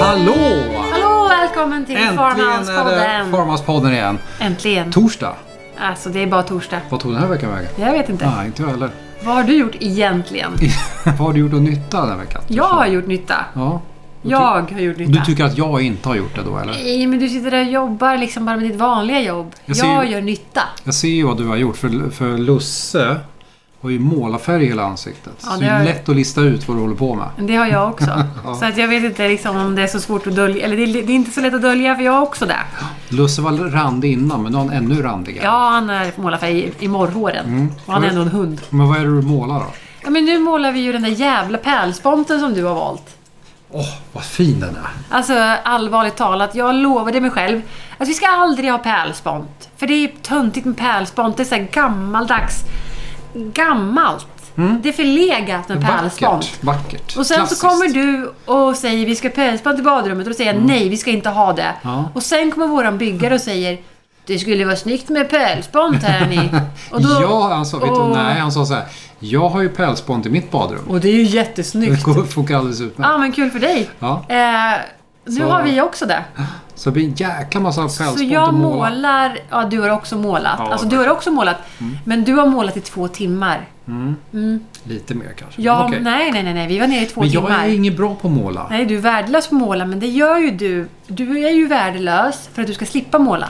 Hallå! Hallå och välkommen till Äntligen är det Farmhouse-podden! Farmhouse-podden igen. Äntligen! Torsdag. Alltså det är bara torsdag. Vad tog den här veckan vägen? Jag vet inte. Nej, inte jag heller. Vad har du gjort egentligen? Vad har du gjort och nytta den här veckan? Jag har gjort nytta. Ja. Du Jag har gjort ty- Du nytta. tycker att jag inte har gjort det då eller? Nej, men du sitter där och jobbar liksom bara med ditt vanliga jobb. Jag Jag, ser ju- gör nytta. Jag ser ju vad du har gjort för, för Lusse har ju målarfärg i hela ansiktet. Ja, så det det är har- lätt att lista ut vad du håller på med. Men Det har jag också. Ja. Så att jag vet inte liksom om det är så svårt att dölja. Eller det är, det är inte så lätt att dölja för jag har också det. Lusse var randig innan men nu är han ännu randigare. Ja, han är målarfärg i, i morrhåren. Mm. Och han är ändå en hund. Men vad är det du målar då? Ja, men nu målar vi ju den där jävla pärlsponten som du har valt. Åh, vad fin den är. Alltså allvarligt talat, jag lovade mig själv att vi ska aldrig ha pärlspont. För det är töntigt med pärlspont, det är så här gammaldags. Gammalt. Det är förlegat med pärlspont. Mm. Vackert. Vackert. Och sen Klassiskt. så kommer du och säger vi ska ha pärlspont i badrummet och då säger jag nej, vi ska inte ha det. Mm. Ja. Och sen kommer våran byggare och säger det skulle vara snyggt med pärlspont här ni. Och då- ja, han sa, vet du, och- nej, han sa så här. Jag har ju pälsband i mitt badrum. Och det är ju Det jättesnyggt. går- funkar alldeles utmärkt. Ja men kul för dig. Ja. Eh, nu Så- har vi också det. Så det blir en jäkla massa Så pälsband jag att måla. målar, ja du har också målat. Ja, Mm. alltså du har också målat. Men du har målat i två timmar. Lite mer kanske. Ja, men okej. nej, nej, nej, nej, vi var nere i två Men jag timmar. är inget bra på att måla. Nej, du är värdelös på att måla, men det gör ju du. Du är ju värdelös för att du ska slippa måla.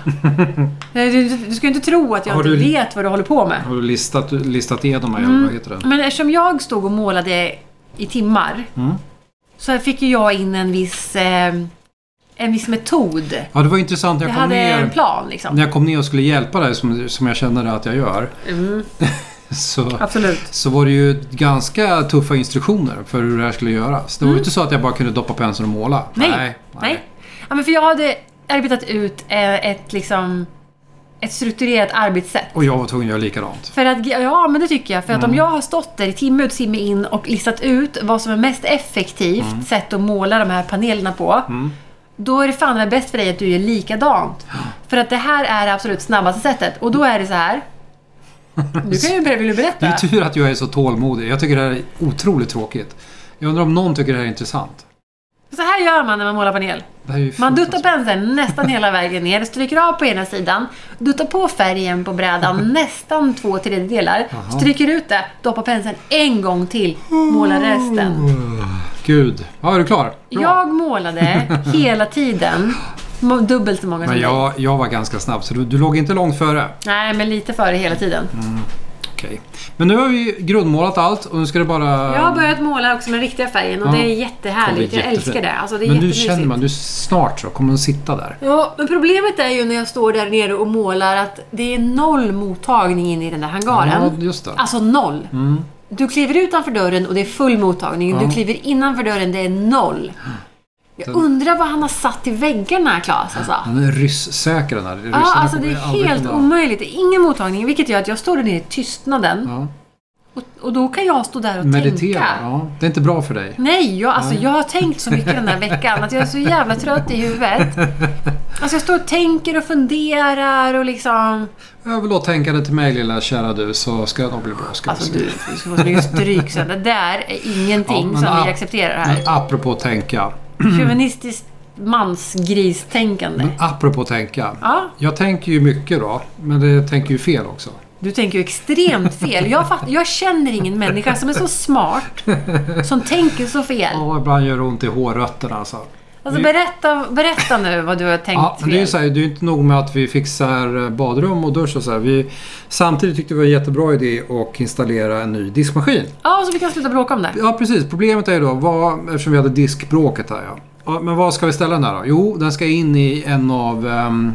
Nej, du, du ska ju inte tro att jag Har inte du- vet vad du håller på med. Har du listat, listat igenom här? Mm. Vad heter den? Men eftersom jag stod och målade i timmar Mm. så fick ju jag in en viss, eh, en viss metod. Ja, det var intressant när Jag jag, kom hade en ner, plan liksom. när jag kom ner och skulle hjälpa dig som, som jag känner att jag gör. Mm, Så, absolut. så var det ju ganska tuffa instruktioner för hur det här skulle göras. Det var ju inte så att jag bara kunde doppa penseln och måla. Mm. Nej. Nej. Nej. Ja, men för jag hade arbetat ut eh, ett, liksom, ett strukturerat arbetssätt. Och jag var tvungen att göra likadant. För att, ja, men det tycker jag. För att om Mm. jag har stått där i timme ut, timme in och listat ut vad som är mest effektivt Mm. sätt att måla de här panelerna på. Då är det fan väl bäst för dig att du gör likadant. För att det här är det absolut snabbaste sättet. Och då är det så här. Du kan ju ber- vill du Det berätta. är typ- tur att jag är så tålmodig. Jag tycker det här är otroligt tråkigt. Jag undrar om någon tycker det här är intressant. Så här gör man när man målar panel. Det här är ju Man duttar fruktansvärt. penseln nästan hela vägen ner, stryker av på ena sidan, duttar på färgen på brädan nästan två tredjedelar, stryker ut det, doppar penseln en gång till, målar resten. Gud. Ja, är du klar? Bra. Jag målade hela tiden må- dubbelt så många som Men dig. jag, jag var ganska snabb, så du, du låg inte långt före. Nej, men lite före hela tiden. Mm. Okej. Men nu har vi grundmålat allt och nu ska det bara... Jag har börjat måla också med riktiga färgen och Ja. det är Kommer jättehärligt. Jag jättefint. älskar det. Alltså, det är Men nu jättemysigt. känner man, du snart så kommer de sitta där. Ja, men problemet är ju när jag står där nere och målar att det är noll mottagning inne i den där hangaren. Ja, just det. Alltså noll. Du kliver utanför dörren och det är full mottagning. Mm. Ja. Du kliver innanför dörren, det är noll. Jag undrar vad han har satt i väggarna, Claes. Alltså. Han är rysssäker den här ryssen. Ja, alltså det kommer är aldrig helt kunna- omöjligt. Det är ingen mottagning, vilket gör att jag står där nere i tystnaden. Ja. Och, och då kan jag stå där och Meditera. tänka. Ja. Det är inte bra för dig. Nej, jag, alltså, jag har tänkt så mycket den här veckan att jag är så jävla trött i huvudet. Alltså jag står och tänker och funderar och liksom... Överlåt tänkandet till mig lilla kära du så ska det nog bli bra. Ska Alltså vi se. du, du ska få så mycket stryk sen. Det där är Ja, ingenting men som a- vi accepterar här. Men apropå tänka. Feministiskt mansgristänkande. Men apropå tänka. Ja, Jag tänker ju mycket då, men det tänker ju fel också. du tänker ju extremt fel. Jag, fatt, jag känner ingen människa som är så smart, som tänker så fel. Ja, ibland gör det ont i hårrötterna alltså. Alltså berätta, berätta nu vad du har tänkt Ja, men fel. det är ju så här, det är ju inte nog med att vi fixar eh, badrum och dusch och så här. Vi, samtidigt tyckte vi det var en jättebra idé att installera en ny diskmaskin. Ja, så vi kan sluta bråka om det. Ja, precis. Problemet är ju då, vad, eftersom vi hade diskbråket här ja. ja. Men vad ska vi ställa den här då? Jo, den ska in i en av um,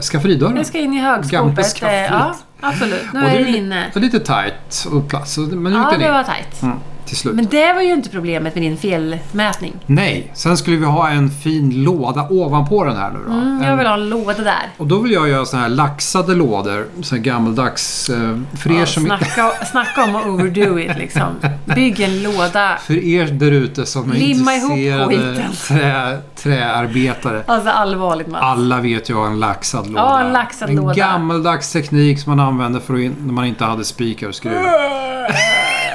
skafferidörrarna. Jag ska in i Gamla högskåpet. eh, skafferiet. Ja, absolut. Nu Och är ju den inne. lite- lite tight och plats, men nu gick Ja, den det in. var tajt. till slut. Men det var ju inte problemet med din felmätning. Nej, sen skulle vi ha en fin låda ovanpå den här nu då. Mm, En- jag vill ha en låda där. Och då vill jag göra såna här laxade lådor. Såna här gammaldags. Eh, för, er Ja, som, snacka, snacka om att overdo it liksom. Bygg en låda. för er där ute som är Limma ihop intresserade skiten. trä, träarbetare. Alltså allvarligt Mats. Alla vet ju vad en laxad låda Ja, en är. laxad en låda. gammaldags teknik som man använde för att in, när man inte hade spikar och Mm. skruvar. Äh,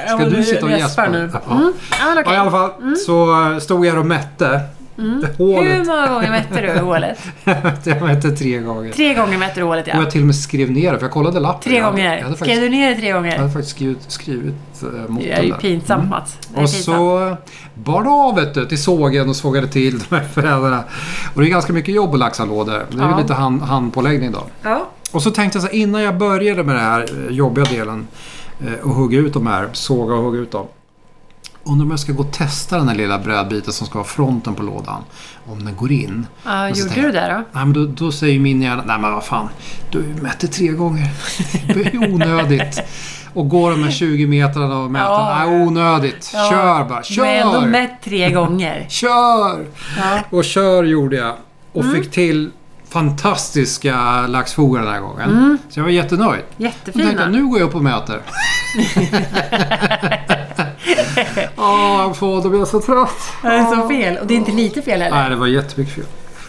Jag Ska du håller- sitta och gäspar gäspa? nu? Ja. Mm. Ja, men Ja, okej. I alla fall Mm. så eh, stod jag och mätte Hur hålet. många gånger mätte du hålet? jag mätte tre gånger. Tre gånger mätte du hålet Och ja. jag till och med skrev ner det, för jag kollade lappen. Tre jag hade, Jag gånger. hade Skrev faktiskt, du ner det tre jag gånger? hade faktiskt skrivit, skrivit eh, mot Eh. Det är den ju där. pinsamt Mats. Det är Och pinsamt. så eh, bar det av vet du, till sågen och sågade till de här föräldrarna. Och det är ganska mycket jobb att laxa lådor. Det är Ja. ju lite hand, handpåläggning då. Ja. Och så tänkte jag så här, innan jag började med den här eh, jobbiga delen eh, och hugga ut de här, såga och hugga ut dem. Undrar om jag ska gå och testa den här lilla brödbiten som ska vara fronten på lådan. Om den går in. Ja, Och så gjorde tänker du det då? Nej men då, då säger min hjärna, nej men vad fan, du mätte tre gånger. Det är onödigt. Och går de här 20 metrarna och mäter, Ja. nej onödigt. Ja. Kör bara, Du har ändå kör! mätt tre gånger. Kör! Ja. Och kör gjorde jag. Och Mm. fick till fantastiska laxfogar den här gången. Mm. Så jag var jättenöjd. Då tänkte jag, Jättefina. nu går jag upp och mäter. Åh, fan, då blir jag så trött. Det är så fel. Och det är inte lite fel heller. Nej, det var jättemycket fel.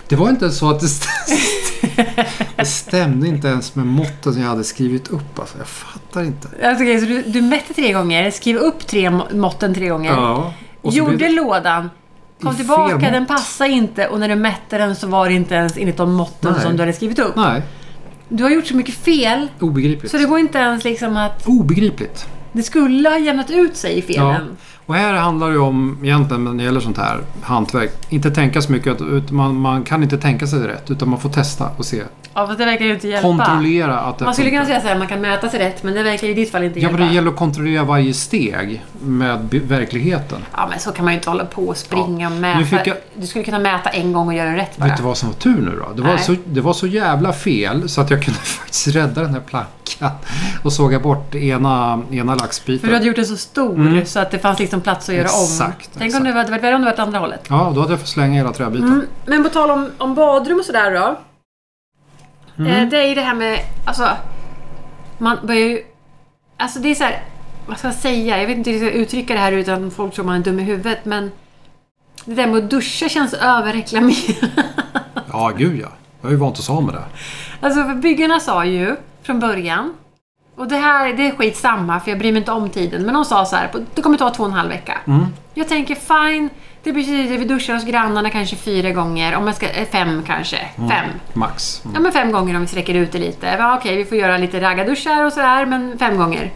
Det var inte ens så att det, st- det stämde inte ens med måtten som jag hade skrivit upp. Alltså, jag fattar inte. Alltså, okej, så du, du mätte tre gånger, skrev upp tre må- måtten tre gånger. Ja. och så Gjorde blev det- lådan, kom I tillbaka, fel den mått. passade inte och när du mätte den så var det inte ens enligt de måtten Nej. som du hade skrivit upp. Nej, Du har gjort så mycket fel obegripligt. så det går inte ens liksom att Obegripligt. det skulle ha jämnat ut sig i Ja. felen. Och här handlar det ju om, egentligen när det gäller sånt här hantverk, inte tänka så mycket. Utan man, man kan inte tänka sig rätt, utan man får testa och se. Ja, fast det verkar ju inte hjälpa. Kontrollera att det Man skulle funkar. kunna säga så här, man kan mäta sig rätt men det verkar i ditt fall inte Ja, hjälpa. men det gäller att kontrollera varje steg med b- verkligheten. Ja, men så kan man ju inte hålla på och springa och mäta. Nu fick jag- Du skulle kunna mäta en gång och göra rätt bara. Vet du vad som var tur nu då? Det var, Nej. så, det var så jävla fel så att jag kunde faktiskt rädda den här plankan och såga bort ena, ena laxbiten. För du hade gjort den så stor Mm. så att det fanns liksom plats att göra om. Exakt, Tänk om exakt. det hade varit värre om det varit andra hållet. Ja, då hade jag fått slänga hela träbiten. Mm, men på tal om, om badrum och sådär då. Eh, det är ju det här med, alltså. Man börjar ju... Alltså det är så här, vad ska jag säga? Jag vet inte hur jag ska uttrycka det här utan att folk tror man är dum i huvudet men. Det där med att duscha känns överreklamerat. Ja, gud ja. Jag är ju vant att ha med det. Alltså för byggarna sa ju från början. Och det här det är skitsamma för jag bryr mig inte om tiden. Men de sa så här, på- det kommer ta två och en halv vecka. Jag tänker fine, det blir precis det. Vi duschar hos grannarna kanske fyra gånger. Om jag ska, eh, fem kanske. Fem. Max. Mm. Ja men fem gånger om vi sträcker ut det lite. Ja, okej, vi får göra lite raggarduschar och sådär, men fem gånger.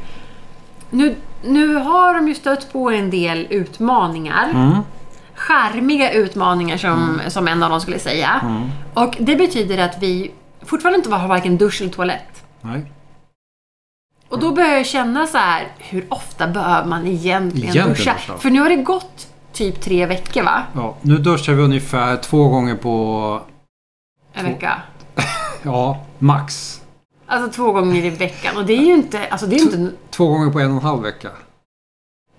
Nu, nu har de ju stött på en del utmaningar. Mm. Charmiga utmaningar som, som en av dem skulle säga. Mm. Och det betyder att vi fortfarande inte har varken dusch eller toalett. Nej. Och Mm. då börjar jag känna så här, hur ofta behöver man egentligen, Egentligen duscha? duscha. För nu har det gått typ tre veckor va? Ja, nu duschar vi ungefär två gånger på, En Två. vecka. ja, max. Alltså två gånger i veckan. Och det är ju inte... Alltså det är ju inte Två gånger på en och en halv vecka.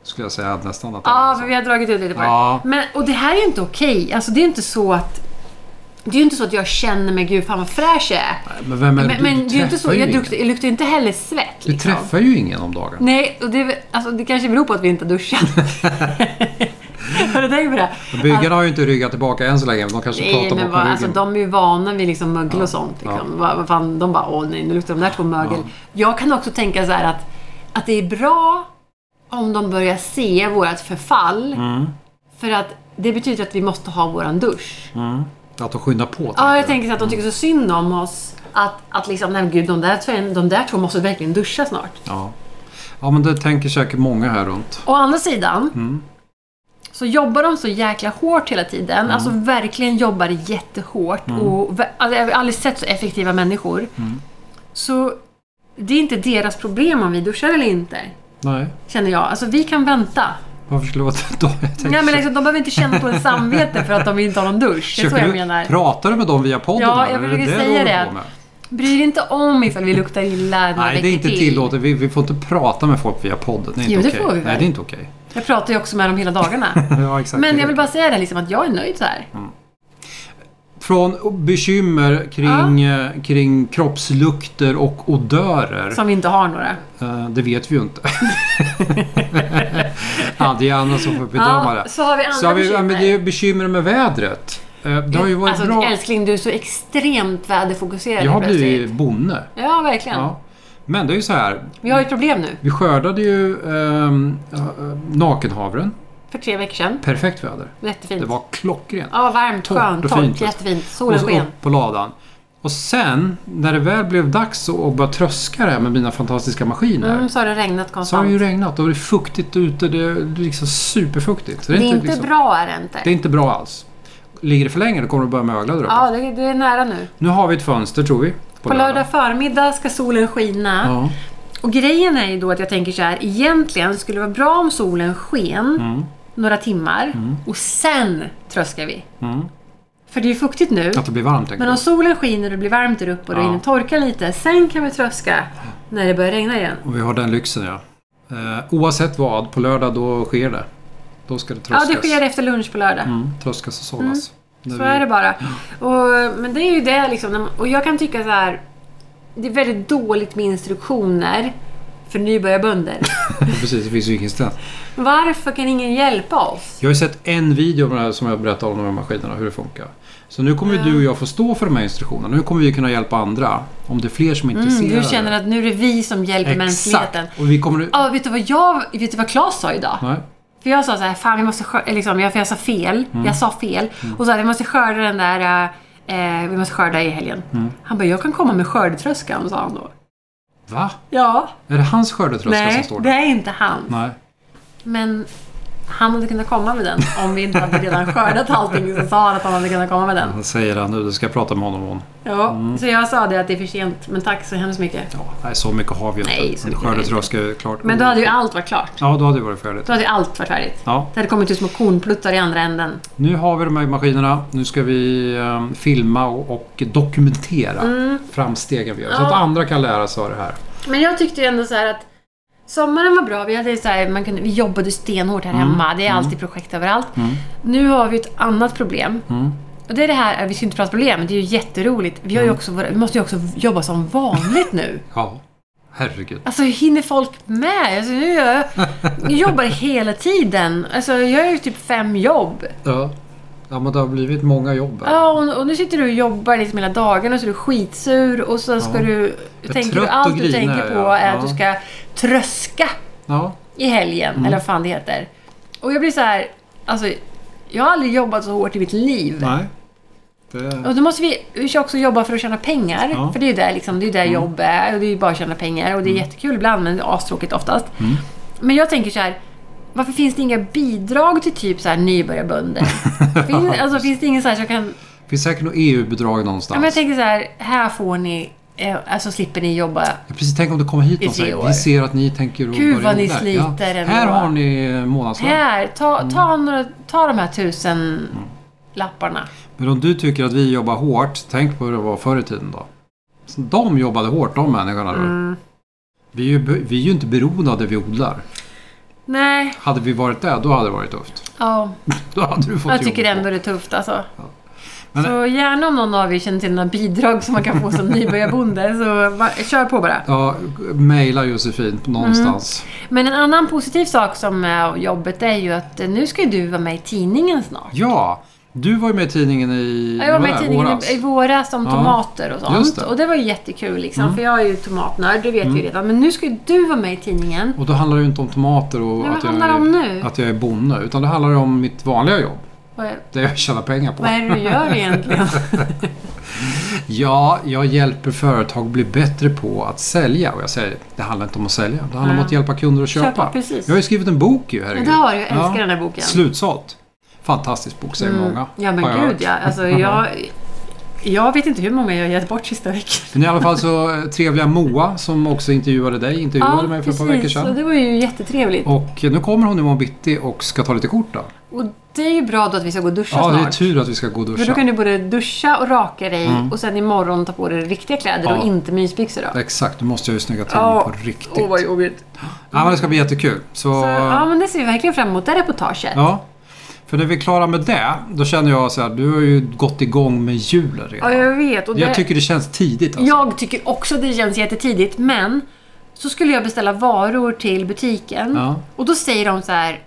Skulle jag säga att nästan att det Ja, är så. för vi har dragit ut lite på Alltså. Ja. det. Men, och det här är ju inte okej. Alltså det är inte så att... Det är ju inte så att jag känner mig, gud fan vad fräsch jag är. Nej, Men vem är Men, du? men du det är ju inte så, träffar ju jag, ingen. luktar, jag luktar ju inte heller svett. Du Liksom. träffar ju ingen om dagen. Nej, och det, är väl- alltså, det kanske beror på att vi inte har duschat. Har du tänkt på det? Byggarna har ju inte ryggat tillbaka än så länge. men De kanske alltså- Nej, pratar men bakom vad, ryggen. alltså, de är ju vana vid liksom mögel och sånt. Ja. Liksom. Vad, vad fan, de bara, åh nej, nu luktar de där två mögel. Jag kan också tänka så här att, att det är bra om de börjar se vårt förfall. Mm. För att det betyder att vi måste ha våran dusch. Mm. Att de skyndar på. Ja, jag tänker så att de tycker så synd om oss. Att, att liksom, nej men gud, de där, två- de där två måste verkligen duscha snart. Ja. ja, men det tänker säkert många här runt. Å andra sidan Mm. så jobbar de så jäkla hårt hela tiden. Mm. Alltså verkligen jobbar jättehårt. Och, vä- alltså, jag har aldrig sett så effektiva människor. Mm. Så det är inte deras problem om vi duschar eller inte. Nej, Känner jag. Alltså vi kan vänta. varför skulle det vara då? Jag tänker Nej, men så. liksom, de behöver inte känna dåligt samvete för att de inte har någon dusch. Det är så Försöker jag du- menar. Pratar du med dem via podden? Ja, här? jag Är försöker du säga håller det. på med? Bryr dig inte om ifall vi luktar illa några Nej, det är veckor inte till. tillåtet. Vi, vi får inte prata med folk via podden. Det är inte Jo, det okej. får vi väl. Nej, det är inte okej. Jag pratar ju också med dem hela dagarna. ja, exakt. Men jag vill bara säga det liksom, att jag är nöjd så här. Mm. Från bekymmer kring, eh, kring kroppslukter och odörer. Som vi inte har några. Eh, det vet vi ju inte. ja, det är Anna som får bedöma Ja, det. så har vi andra Så har vi, ja, bekymmer. men det är ju bekymmer med vädret. Eh, Det har ju varit alltså, bra. älskling, du är så extremt väderfokuserad Jag har helt plötsligt. blivit bonde. Ja, verkligen. Ja. Men det är ju så här. Vi har ju ett problem nu. Vi skördade ju ehm, ja, eh, nakenhavren. För tre veckor sedan. Perfekt väder. Jättefint. Det var klockrent. Ja, varmt, Torrt skönt, och torrt, fint. jättefint. Solen Och så sken. upp på ladan. Och sen, när det väl blev dags att att börja tröska det här med mina fantastiska maskiner. Mm, så har det regnat Så har konstant. det ju regnat och det är fuktigt ute. Det är liksom superfuktigt. Så det är inte liksom, bra är det inte. Det är inte bra alls. Ligger det för länge då kommer det börja mögla där uppe. Ja, det, det är nära nu. Nu har vi ett fönster tror vi. På lördag förmiddag ska solen skina. Ja. Och grejen är ju då att jag tänker så här. Egentligen skulle det vara bra om solen sken Mm. några timmar och sen tröskar vi. Mm. För det är ju fuktigt nu. Att det blir varmt tänker Men alltså, om jag. solen skiner och det blir varmt där uppe och det Ja. hinner torka lite, sen kan vi tröska när det börjar regna igen. Och vi har den lyxen ja. Eh, oavsett vad, på lördag då sker det. Då ska det Ja, tröskas. det sker efter lunch på lördag. Mm, tröskas och sållas. Så är det bara. Och, men det är ju det liksom. när man- Och jag kan tycka så här. Det är väldigt dåligt med instruktioner för nybörjarbönder. Precis, det finns ju ingen stöd. Varför kan ingen hjälpa oss? Jag har ju sett en video om det här som jag berättade om de här maskinerna, hur det funkar. Så nu kommer ju du och jag få stå för de här instruktionerna. Nu kommer vi kunna hjälpa andra. Om det är fler som är Mm, intresserade. du känner att nu är det vi som hjälper Exakt. mänskligheten. Och vi kommer... Ja, vet du vad jag, vet du vad Claes sa idag? Nej. För jag sa så här, fan vi måste skörda, liksom, jag, för jag sa fel. Mm. Jag sa fel. Och sa vi måste skörda den där, eh, vi måste skörda i helgen. Mm. Han bara, jag kan komma med skördetröskan, sa han då. Va? Ja, Är det hans skördetröska som nej, står det där? är inte han. Nej. Men han hade kunnat komma med den om vi inte hade redan skördat allting. Så sa han att han hade kunnat komma med den. Han säger han nu. Det ska jag prata med honom om. Ja, Mm. så jag sa det att det är för sent. Men tack så hemskt mycket. Ja, nej, så mycket har vi ju Nej, inte. så En mycket har vi skördetröska är klart. Men då hade ju allt varit klart. Ja, då hade det varit färdigt. Då hade ju allt varit färdigt. Ja, Det hade kommit ut små kornpluttar i andra änden. nu har vi de här maskinerna. Nu ska vi eh, filma och, och dokumentera framstegen vi gör. Så Mm. Ja. att andra kan lära sig av det här. Men jag tyckte ju ändå så här att sommaren var bra. Vi, hade så här, man kunde, vi jobbade stenhårt här Mm. hemma. Det är alltid projekt överallt. Nu har vi ett annat problem. Mm. Och det är det här, vi ska ju inte prata problem, det är ju jätteroligt. Vi, har ju också, våra- vi måste ju också jobba som vanligt nu. Ja, herregud. Alltså hur hinner folk med? Alltså, nu gör jag, jag jobbar hela tiden. Alltså, jag gör ju typ fem jobb. Ja. ja, men det har blivit många jobb här. Ja, och, och nu sitter du och jobbar liksom hela dagen och så är du skitsur och sen ska Ja. du... är Tänker du trött och allt du grinig, tänker på ja. är att du Ja. ska tröska Ja. i helgen, Mm. eller vad fan det heter. Och jag blir så här, alltså jag har aldrig jobbat så hårt i mitt liv. Nej. Det... Och då måste vi, vi ska också jobba för att tjäna pengar. Ja. Mm. För det är ju där, liksom, det är ju där jobb är. Och det är ju bara att tjäna pengar. Och det är jättekul ibland, men det är astråkigt oftast. Mm. Men jag tänker så här. Varför finns det inga bidrag till typ så här nybörjarbönder? finns, alltså, finns det ingen så här som kan... finns säkert något EU-bidrag Ja, någonstans. men jag tänker så här, här får ni... eh, Alltså slipper ni jobba. Ja, Precis, tänk om det kommer hit någon och tre säger år. vi ser att ni tänker att Gud, börja vad ni om där." sliter ändå. Här har ni eh, månadslön. Här, ta, ta, Mm. några, ta de här tusen lapparna. Men om du tycker att vi jobbar hårt, tänk på hur det var förr i tiden då. Så de jobbade hårt, de människorna. då. Mm. Vi, är ju, be- vi är ju inte beroende av det vi odlar. Nej, Hade vi varit det, då hade det varit tufft. ja. Då hade du fått Jag tycker jobb. ändå det är tufft alltså. Men- så gärna om någon av er känner till några bidrag som man kan få som nybörjarbonde, så va- kör på bara. Ja, mejla Josefin någonstans. Men en annan positiv sak som är av jobbet är ju att eh, nu ska ju du vara med i tidningen snart. Ja, du var ju med i tidningen i Jag var med i där, tidningen våras. i i våras om Ja. tomater och sånt. Just det. Mm. Och det var ju jättekul liksom, för jag är ju tomatnörd, det vet vi ju redan. Men nu ska ju du vara med i tidningen. Och då handlar det ju inte om tomater och Men vad att, jag handlar det är, om nu? att jag är bonde. Utan det handlar ju om mitt vanliga jobb. Vad är, Det jag tjänar pengar på. vad är det du gör egentligen? Ja, jag hjälper företag bli bättre på att sälja. Och jag säger, det handlar inte om att sälja. Det handlar om Nej. att hjälpa kunder att köpa. Köpa, precis. Jag har ju skrivit en bok ju, herregud. det har du, jag älskar den där boken. Slutsålt. Fantastisk bok, säger många. Mm. Ja men har jag gud hört. ja. Alltså, jag, Jag vet inte hur många jag har gett bort sista veckan. Men i alla fall så eh, trevliga Moa som också intervjuade dig, intervjuade mig för ett par veckor och sedan. det var ju jättetrevligt. Och nu kommer hon i morgon bitti och ska ta lite kort då. Och det är ju bra då att vi ska gå och duscha Ja, det är snart. tur att vi ska gå och För då duscha. kan du både duscha och raka dig och sen imorgon ta på dig riktiga kläder Mm. Ja. och inte mysbyxor då. Exakt, då måste jag ju snygga till Ja. på riktigt. Åh, vad jobbigt. ja, men det ska bli jättekul. Så, Så, ja, men det ser vi verkligen fram emot, det här reportaget. Ja. ja. För när vi är klara med det, då känner jag så här, du har ju gått igång med julen redan. jag vet. Och det, Jag tycker det känns tidigt alltså. jag tycker också det känns jättetidigt, men så skulle jag beställa varor till butiken Ja. och då säger de så här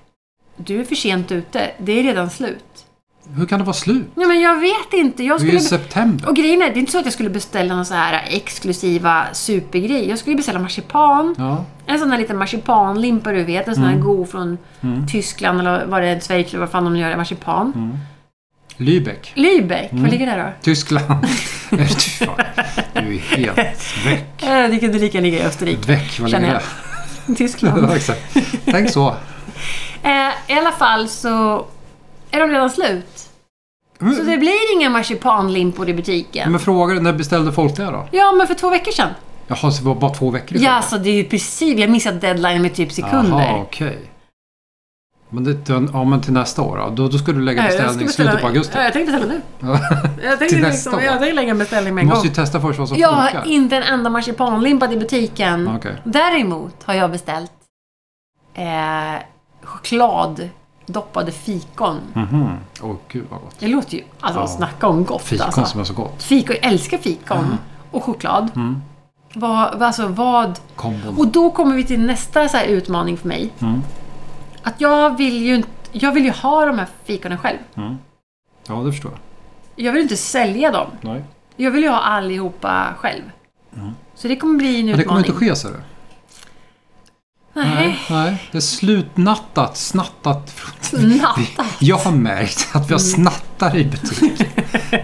Du är för sent ute, det är redan slut. Hur kan det vara slut? Nej, men jag vet inte. Jag Det är ju skulle... september. Och grejen är, det är inte så att jag skulle beställa någon så här exklusiva supergrej. Jag skulle beställa marsipan. Ja. En sån här liten marsipanlimpa du vet. En sån här Mm. god från Tyskland eller var det är, Schweiz eller vad fan de gör. Marsipan. Mm. Lübeck. Lübeck, Mm. var ligger det då? Tyskland. Fy fan. Du är helt väck. Eh, det kunde lika ligga i Österrike. Väck, vad Känner ligger det? jag. Tyskland. Ja, exakt. Tänk så. eh, I alla fall så är de redan slut. Så Men, det blir inga marsipanlimpor i butiken. men frågar du, när beställde folk det då? Ja, men för två veckor sedan. Jaha, så det var bara två veckor Ja, alltså det är ju precis. Vi har missat deadline med typ sekunder. Jaha, okej. Men, det, ja, men till nästa år då? Då, då ska du lägga Nej, jag ska beställning i slutet på augusti? beställa- Ja, jag tänkte beställa nu. Jag tänkte, Till liksom, nästa år. jag tänkte lägga en beställning med Du en måste ju gång. testa först vad som Jag funkar. har inte en enda marsipanlimpa i butiken. Ah, Okej. Däremot har jag beställt eh, choklad doppade fikon. Mhm. Åh, gud vad gott. Det låter ju... Alltså, Ja. snacka om gott Fikon alltså. som är Mm. så gott. Fikon, jag älskar fikon. Och choklad. Vad, vad- alltså vad... Kombon. Och då kommer vi till nästa så här utmaning för mig. Mm. Att jag vill ju inte... Jag vill ju ha de här fikonen själv. Mm. Ja, det förstår jag. Jag vill inte sälja dem. Nej. Jag vill ju ha allihopa själv. Så det kommer bli Men en det kommer utmaning. inte ske, ser du. Nej. Nej. Det är slutnattat, snattat. Natta. Jag har märkt att vi har Mm. snattar i butiken.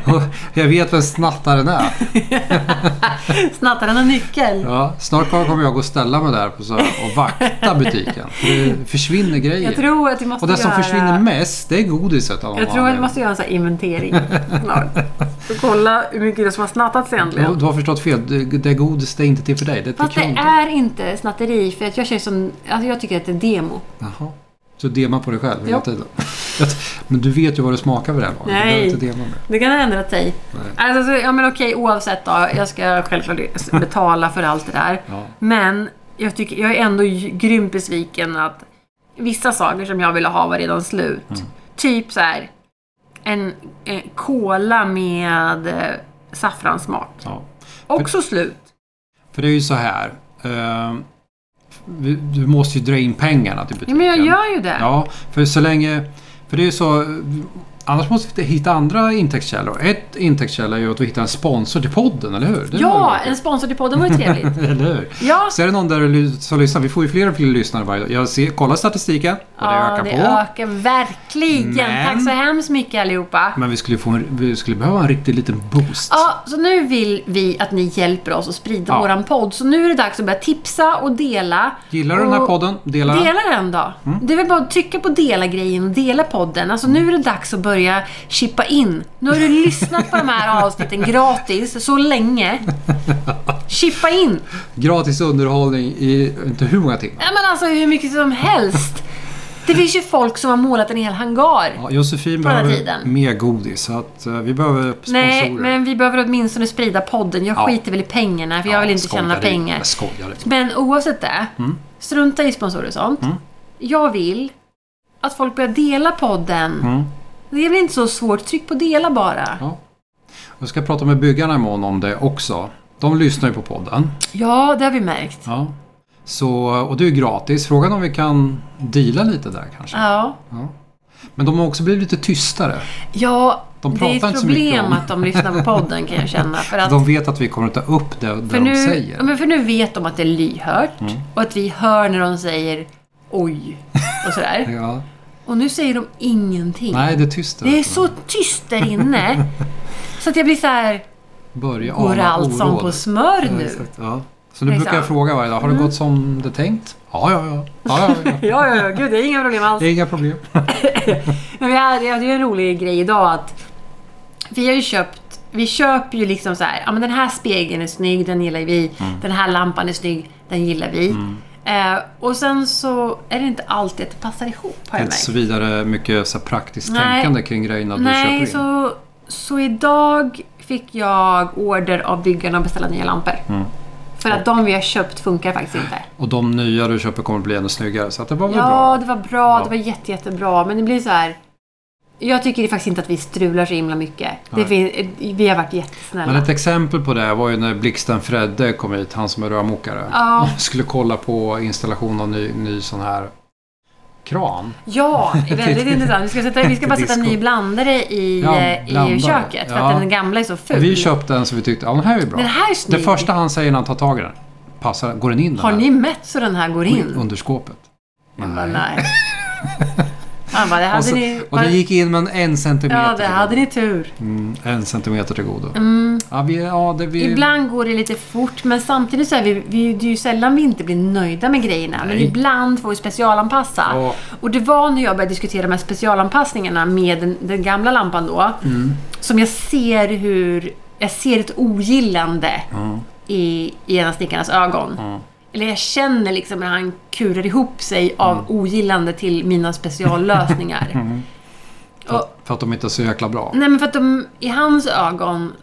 Och jag vet vem snattaren är. Snattaren har nyckel. Ja, snart kommer jag gå och ställa mig där på så här och vakta butiken. För det försvinner grejer. Jag tror att vi måste och det som göra... försvinner mest, det är godiset. av någon Jag tror att vi anledning. måste göra en sån här inventering snart. Och kolla hur mycket det är som har snattats Du, egentligen. du har förstått fel. Det, det är godis, det är inte till för dig. Det är till Fast det kunden. är inte snatteri, för att jag känner som... Alltså jag tycker att det är demo. Jaha. Så dema på dig själv hela Ja. tiden. Men du vet ju vad det smakar vid det här laget. Du Nej. behöver inte dema med. Det kan ha ändrat sig. Nej. Alltså, så- ja men okej, oavsett då. Jag ska självklart betala för allt det där. Ja. Men jag, tycker, jag är ändå j- grymt besviken att vissa saker som jag ville ha var redan slut. Mm. Typ så här en, en cola med eh, saffransmak. Ja. Också slut. För det är ju så här. ehm, vi- du måste ju dra in pengarna till Ja, butiken. men jag gör ju det. Ja, för så länge... För det är ju så... eh, Annars måste vi hitta andra intäktskällor. Ett intäktskälla är ju att vi hittar en sponsor till podden, eller hur? Det Ja, vore ju en sponsor till podden var ju trevligt. kul. Eller hur? Ja, Så är det någon där ly- som lyssnar. Vi får ju fler och fler lyssnare varje dag. Jag ser, kollar statistiken och det ja ökar det på. ökar verkligen. Men- Tack så hemskt mycket allihopa. Men vi skulle, få en, vi skulle behöva en riktig liten boost. Ja, så nu vill vi att ni hjälper oss att sprida Ja. våran podd. Så nu är det dags att börja tipsa och dela. Gillar du den här Och podden? Dela Mm. den. Dela den då. Det är väl bara att trycka på dela-grejen och dela podden. Alltså nu är det dags att börja chippa in. Nu har du lyssnat på de här avsnitten gratis så länge. Chippa in! Gratis underhållning i inte hur många timmar. Ja, men alltså hur mycket som helst. Det finns ju folk som har målat en hel hangar. Ja, Josefin den här behöver tiden. mer godis. Så att, eh, vi behöver sponsorer. Nej, men vi behöver åtminstone sprida podden. Jag Ja. skiter väl i pengarna för jag vill inte skojar tjäna dig. pengar. Jag skojar. Men oavsett det, Mm. strunta i sponsorer och sånt. Jag vill att folk börjar dela podden. Mm. Det är väl inte så svårt? Tryck på dela bara. Ja. Jag ska prata med byggarna imorgon om det också. De lyssnar ju på podden. Ja, det har vi märkt. Ja. Så, och det är ju gratis. Frågan om vi kan deala lite där kanske. Ja, Men de har också blivit lite tystare. ja De det pratar är inte ett så mycket problem om- att de lyssnar på podden kan jag känna. För att De vet att vi kommer att ta upp det, det för, de nu, säger. Mm. ja, men för nu vet de att det är lyhört och att vi hör när de säger oj och sådär. Ja. Och nu säger de ingenting. Nej, det är tyst. där. Det är så tyst där inne. Så att jag blir så här, Börja går ana allt som oråd. på smör Ja, nu? exakt. Ja. Så nu Exakt. Mm. brukar jag fråga varje dag. Har det gått som det tänkt? Ja, ja, ja. ja, ja, ja. Ja, ja, ja. Gud, det är inga problem alls. Det är inga problem. Men vi hade, jag hade ju en rolig grej idag att vi har ju köpt vi köper ju liksom så här, ja men den här spegeln är snygg, den gillar vi. Mm. Den här lampan är snygg, den gillar vi. Eh, och sen så är det inte alltid att det passar ihop har jag Inte märkt. så vidare mycket så här, praktiskt Nej. tänkande kring grejerna du köper Nej, in. så, så idag fick jag order av byggarna att beställa nya lampor. Mm. För att de vi har köpt funkar faktiskt inte. Och de nya du köper kommer bli ännu snyggare. Så att det var väl Ja, bra. det var bra. Ja. Det var jätte, jättebra. Men det blir så här... Jag tycker faktiskt inte att vi strular så himla mycket. Det fin- vi har varit jättesnälla. Men ett exempel på det var ju när Blixten Fredde kom hit, han som är rörmokare. Ja. Skulle kolla på installation av ny, ny sån här kran. Ja, det är väldigt intressant. Vi ska, sätta, vi ska bara sätta en ny Disco. blandare i, Ja, eh, blandare. i köket. För Ja. att den gamla är så ful. Vi köpte en som vi tyckte, ja den här är ju bra. Den här är det snygg. första han säger när han tar tag i den, passar, går den in den Har här? ni mätt så den här går in? Under skåpet. Jag bara, nej. Han bara, det hade Och, så, ni... och det gick in med en centimeter. ja, det till hade godo. ni tur. Mm, en centimeter till godo. Ja, vi, ja, det, vi, Ibland går det lite fort, men samtidigt så är vi, vi, det är ju sällan vi inte blir nöjda med grejerna. Men Nej. ibland får vi specialanpassa. Ja. Och det var när jag började diskutera de här specialanpassningarna med den, den gamla lampan då, Mm. som jag ser hur... Jag ser ett ogillande i, i ena snickarens ögon. Eller jag känner liksom när han kurar ihop Mm. sig av ogillande till mina speciallösningar. Och, För att de inte är så jäkla bra. Nej, men för att de, i hans ögon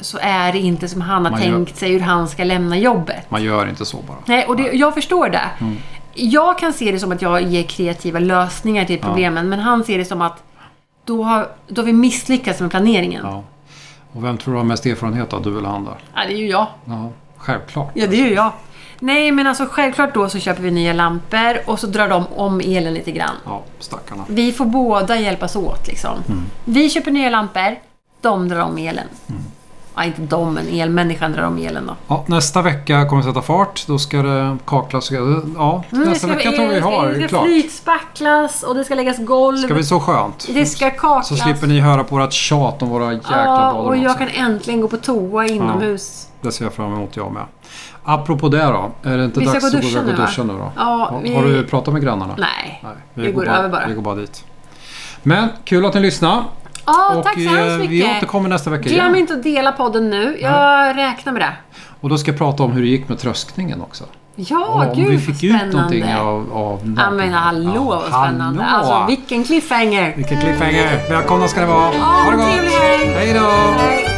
så är det inte som han har Man gör- tänkt sig hur han ska lämna jobbet. Man gör inte så bara. Nej, och det, jag förstår det. Mm. Jag kan se det som att jag ger kreativa lösningar till problemen, men han ser det som att då har, då har vi misslyckats med planeringen. Ja. Ja. Och vem tror du har mest erfarenhet av, du eller han där? det är ju jag. Ja, självklart. Ja, det är ju jag. Nej, men alltså självklart då så köper vi nya lampor och så drar de om elen lite grann. Ja, stackarna. Vi får båda hjälpas åt liksom. Mm. Vi köper nya lampor, de drar om elen. Ja, inte de, men elmänniskan drar om elen då. Mm, Ja, nästa vecka kommer vi sätta fart. Då ska det kaklas. och- Ja, Mm, det nästa vecka tror vi har. Det Det är ska klart. flytspacklas och det ska läggas golv. Ska bli så skönt. Det ska kaklas. Så slipper ni höra på vårt tjat om våra jäkla Ja, badrum alltså. och jag också. kan äntligen gå på toa inomhus. Det ser jag fram emot jag med. Apropå det då. Är det inte Vi ska dags gå att gå duscha iväg och nu, va? duscha nu då? Ja, Har- vi- Har du pratat med grannarna? Nej. Nej, Vi går över bara. Vi går bara dit. Men kul att ni lyssnade. Ja, och tack så eh, hemskt vi mycket. återkommer nästa vecka Glöm igen. inte att dela podden nu. Jag räknar med det. Och då ska jag prata om hur det gick med tröskningen också. Ja, om gud vi vad fick ut spännande. någonting av... av Ja, men hallå vad spännande. Alltså vilken cliffhanger. Vilken cliffhanger. Välkomna ska ni vara. Ja, trevlig helg. Hej då. Hej.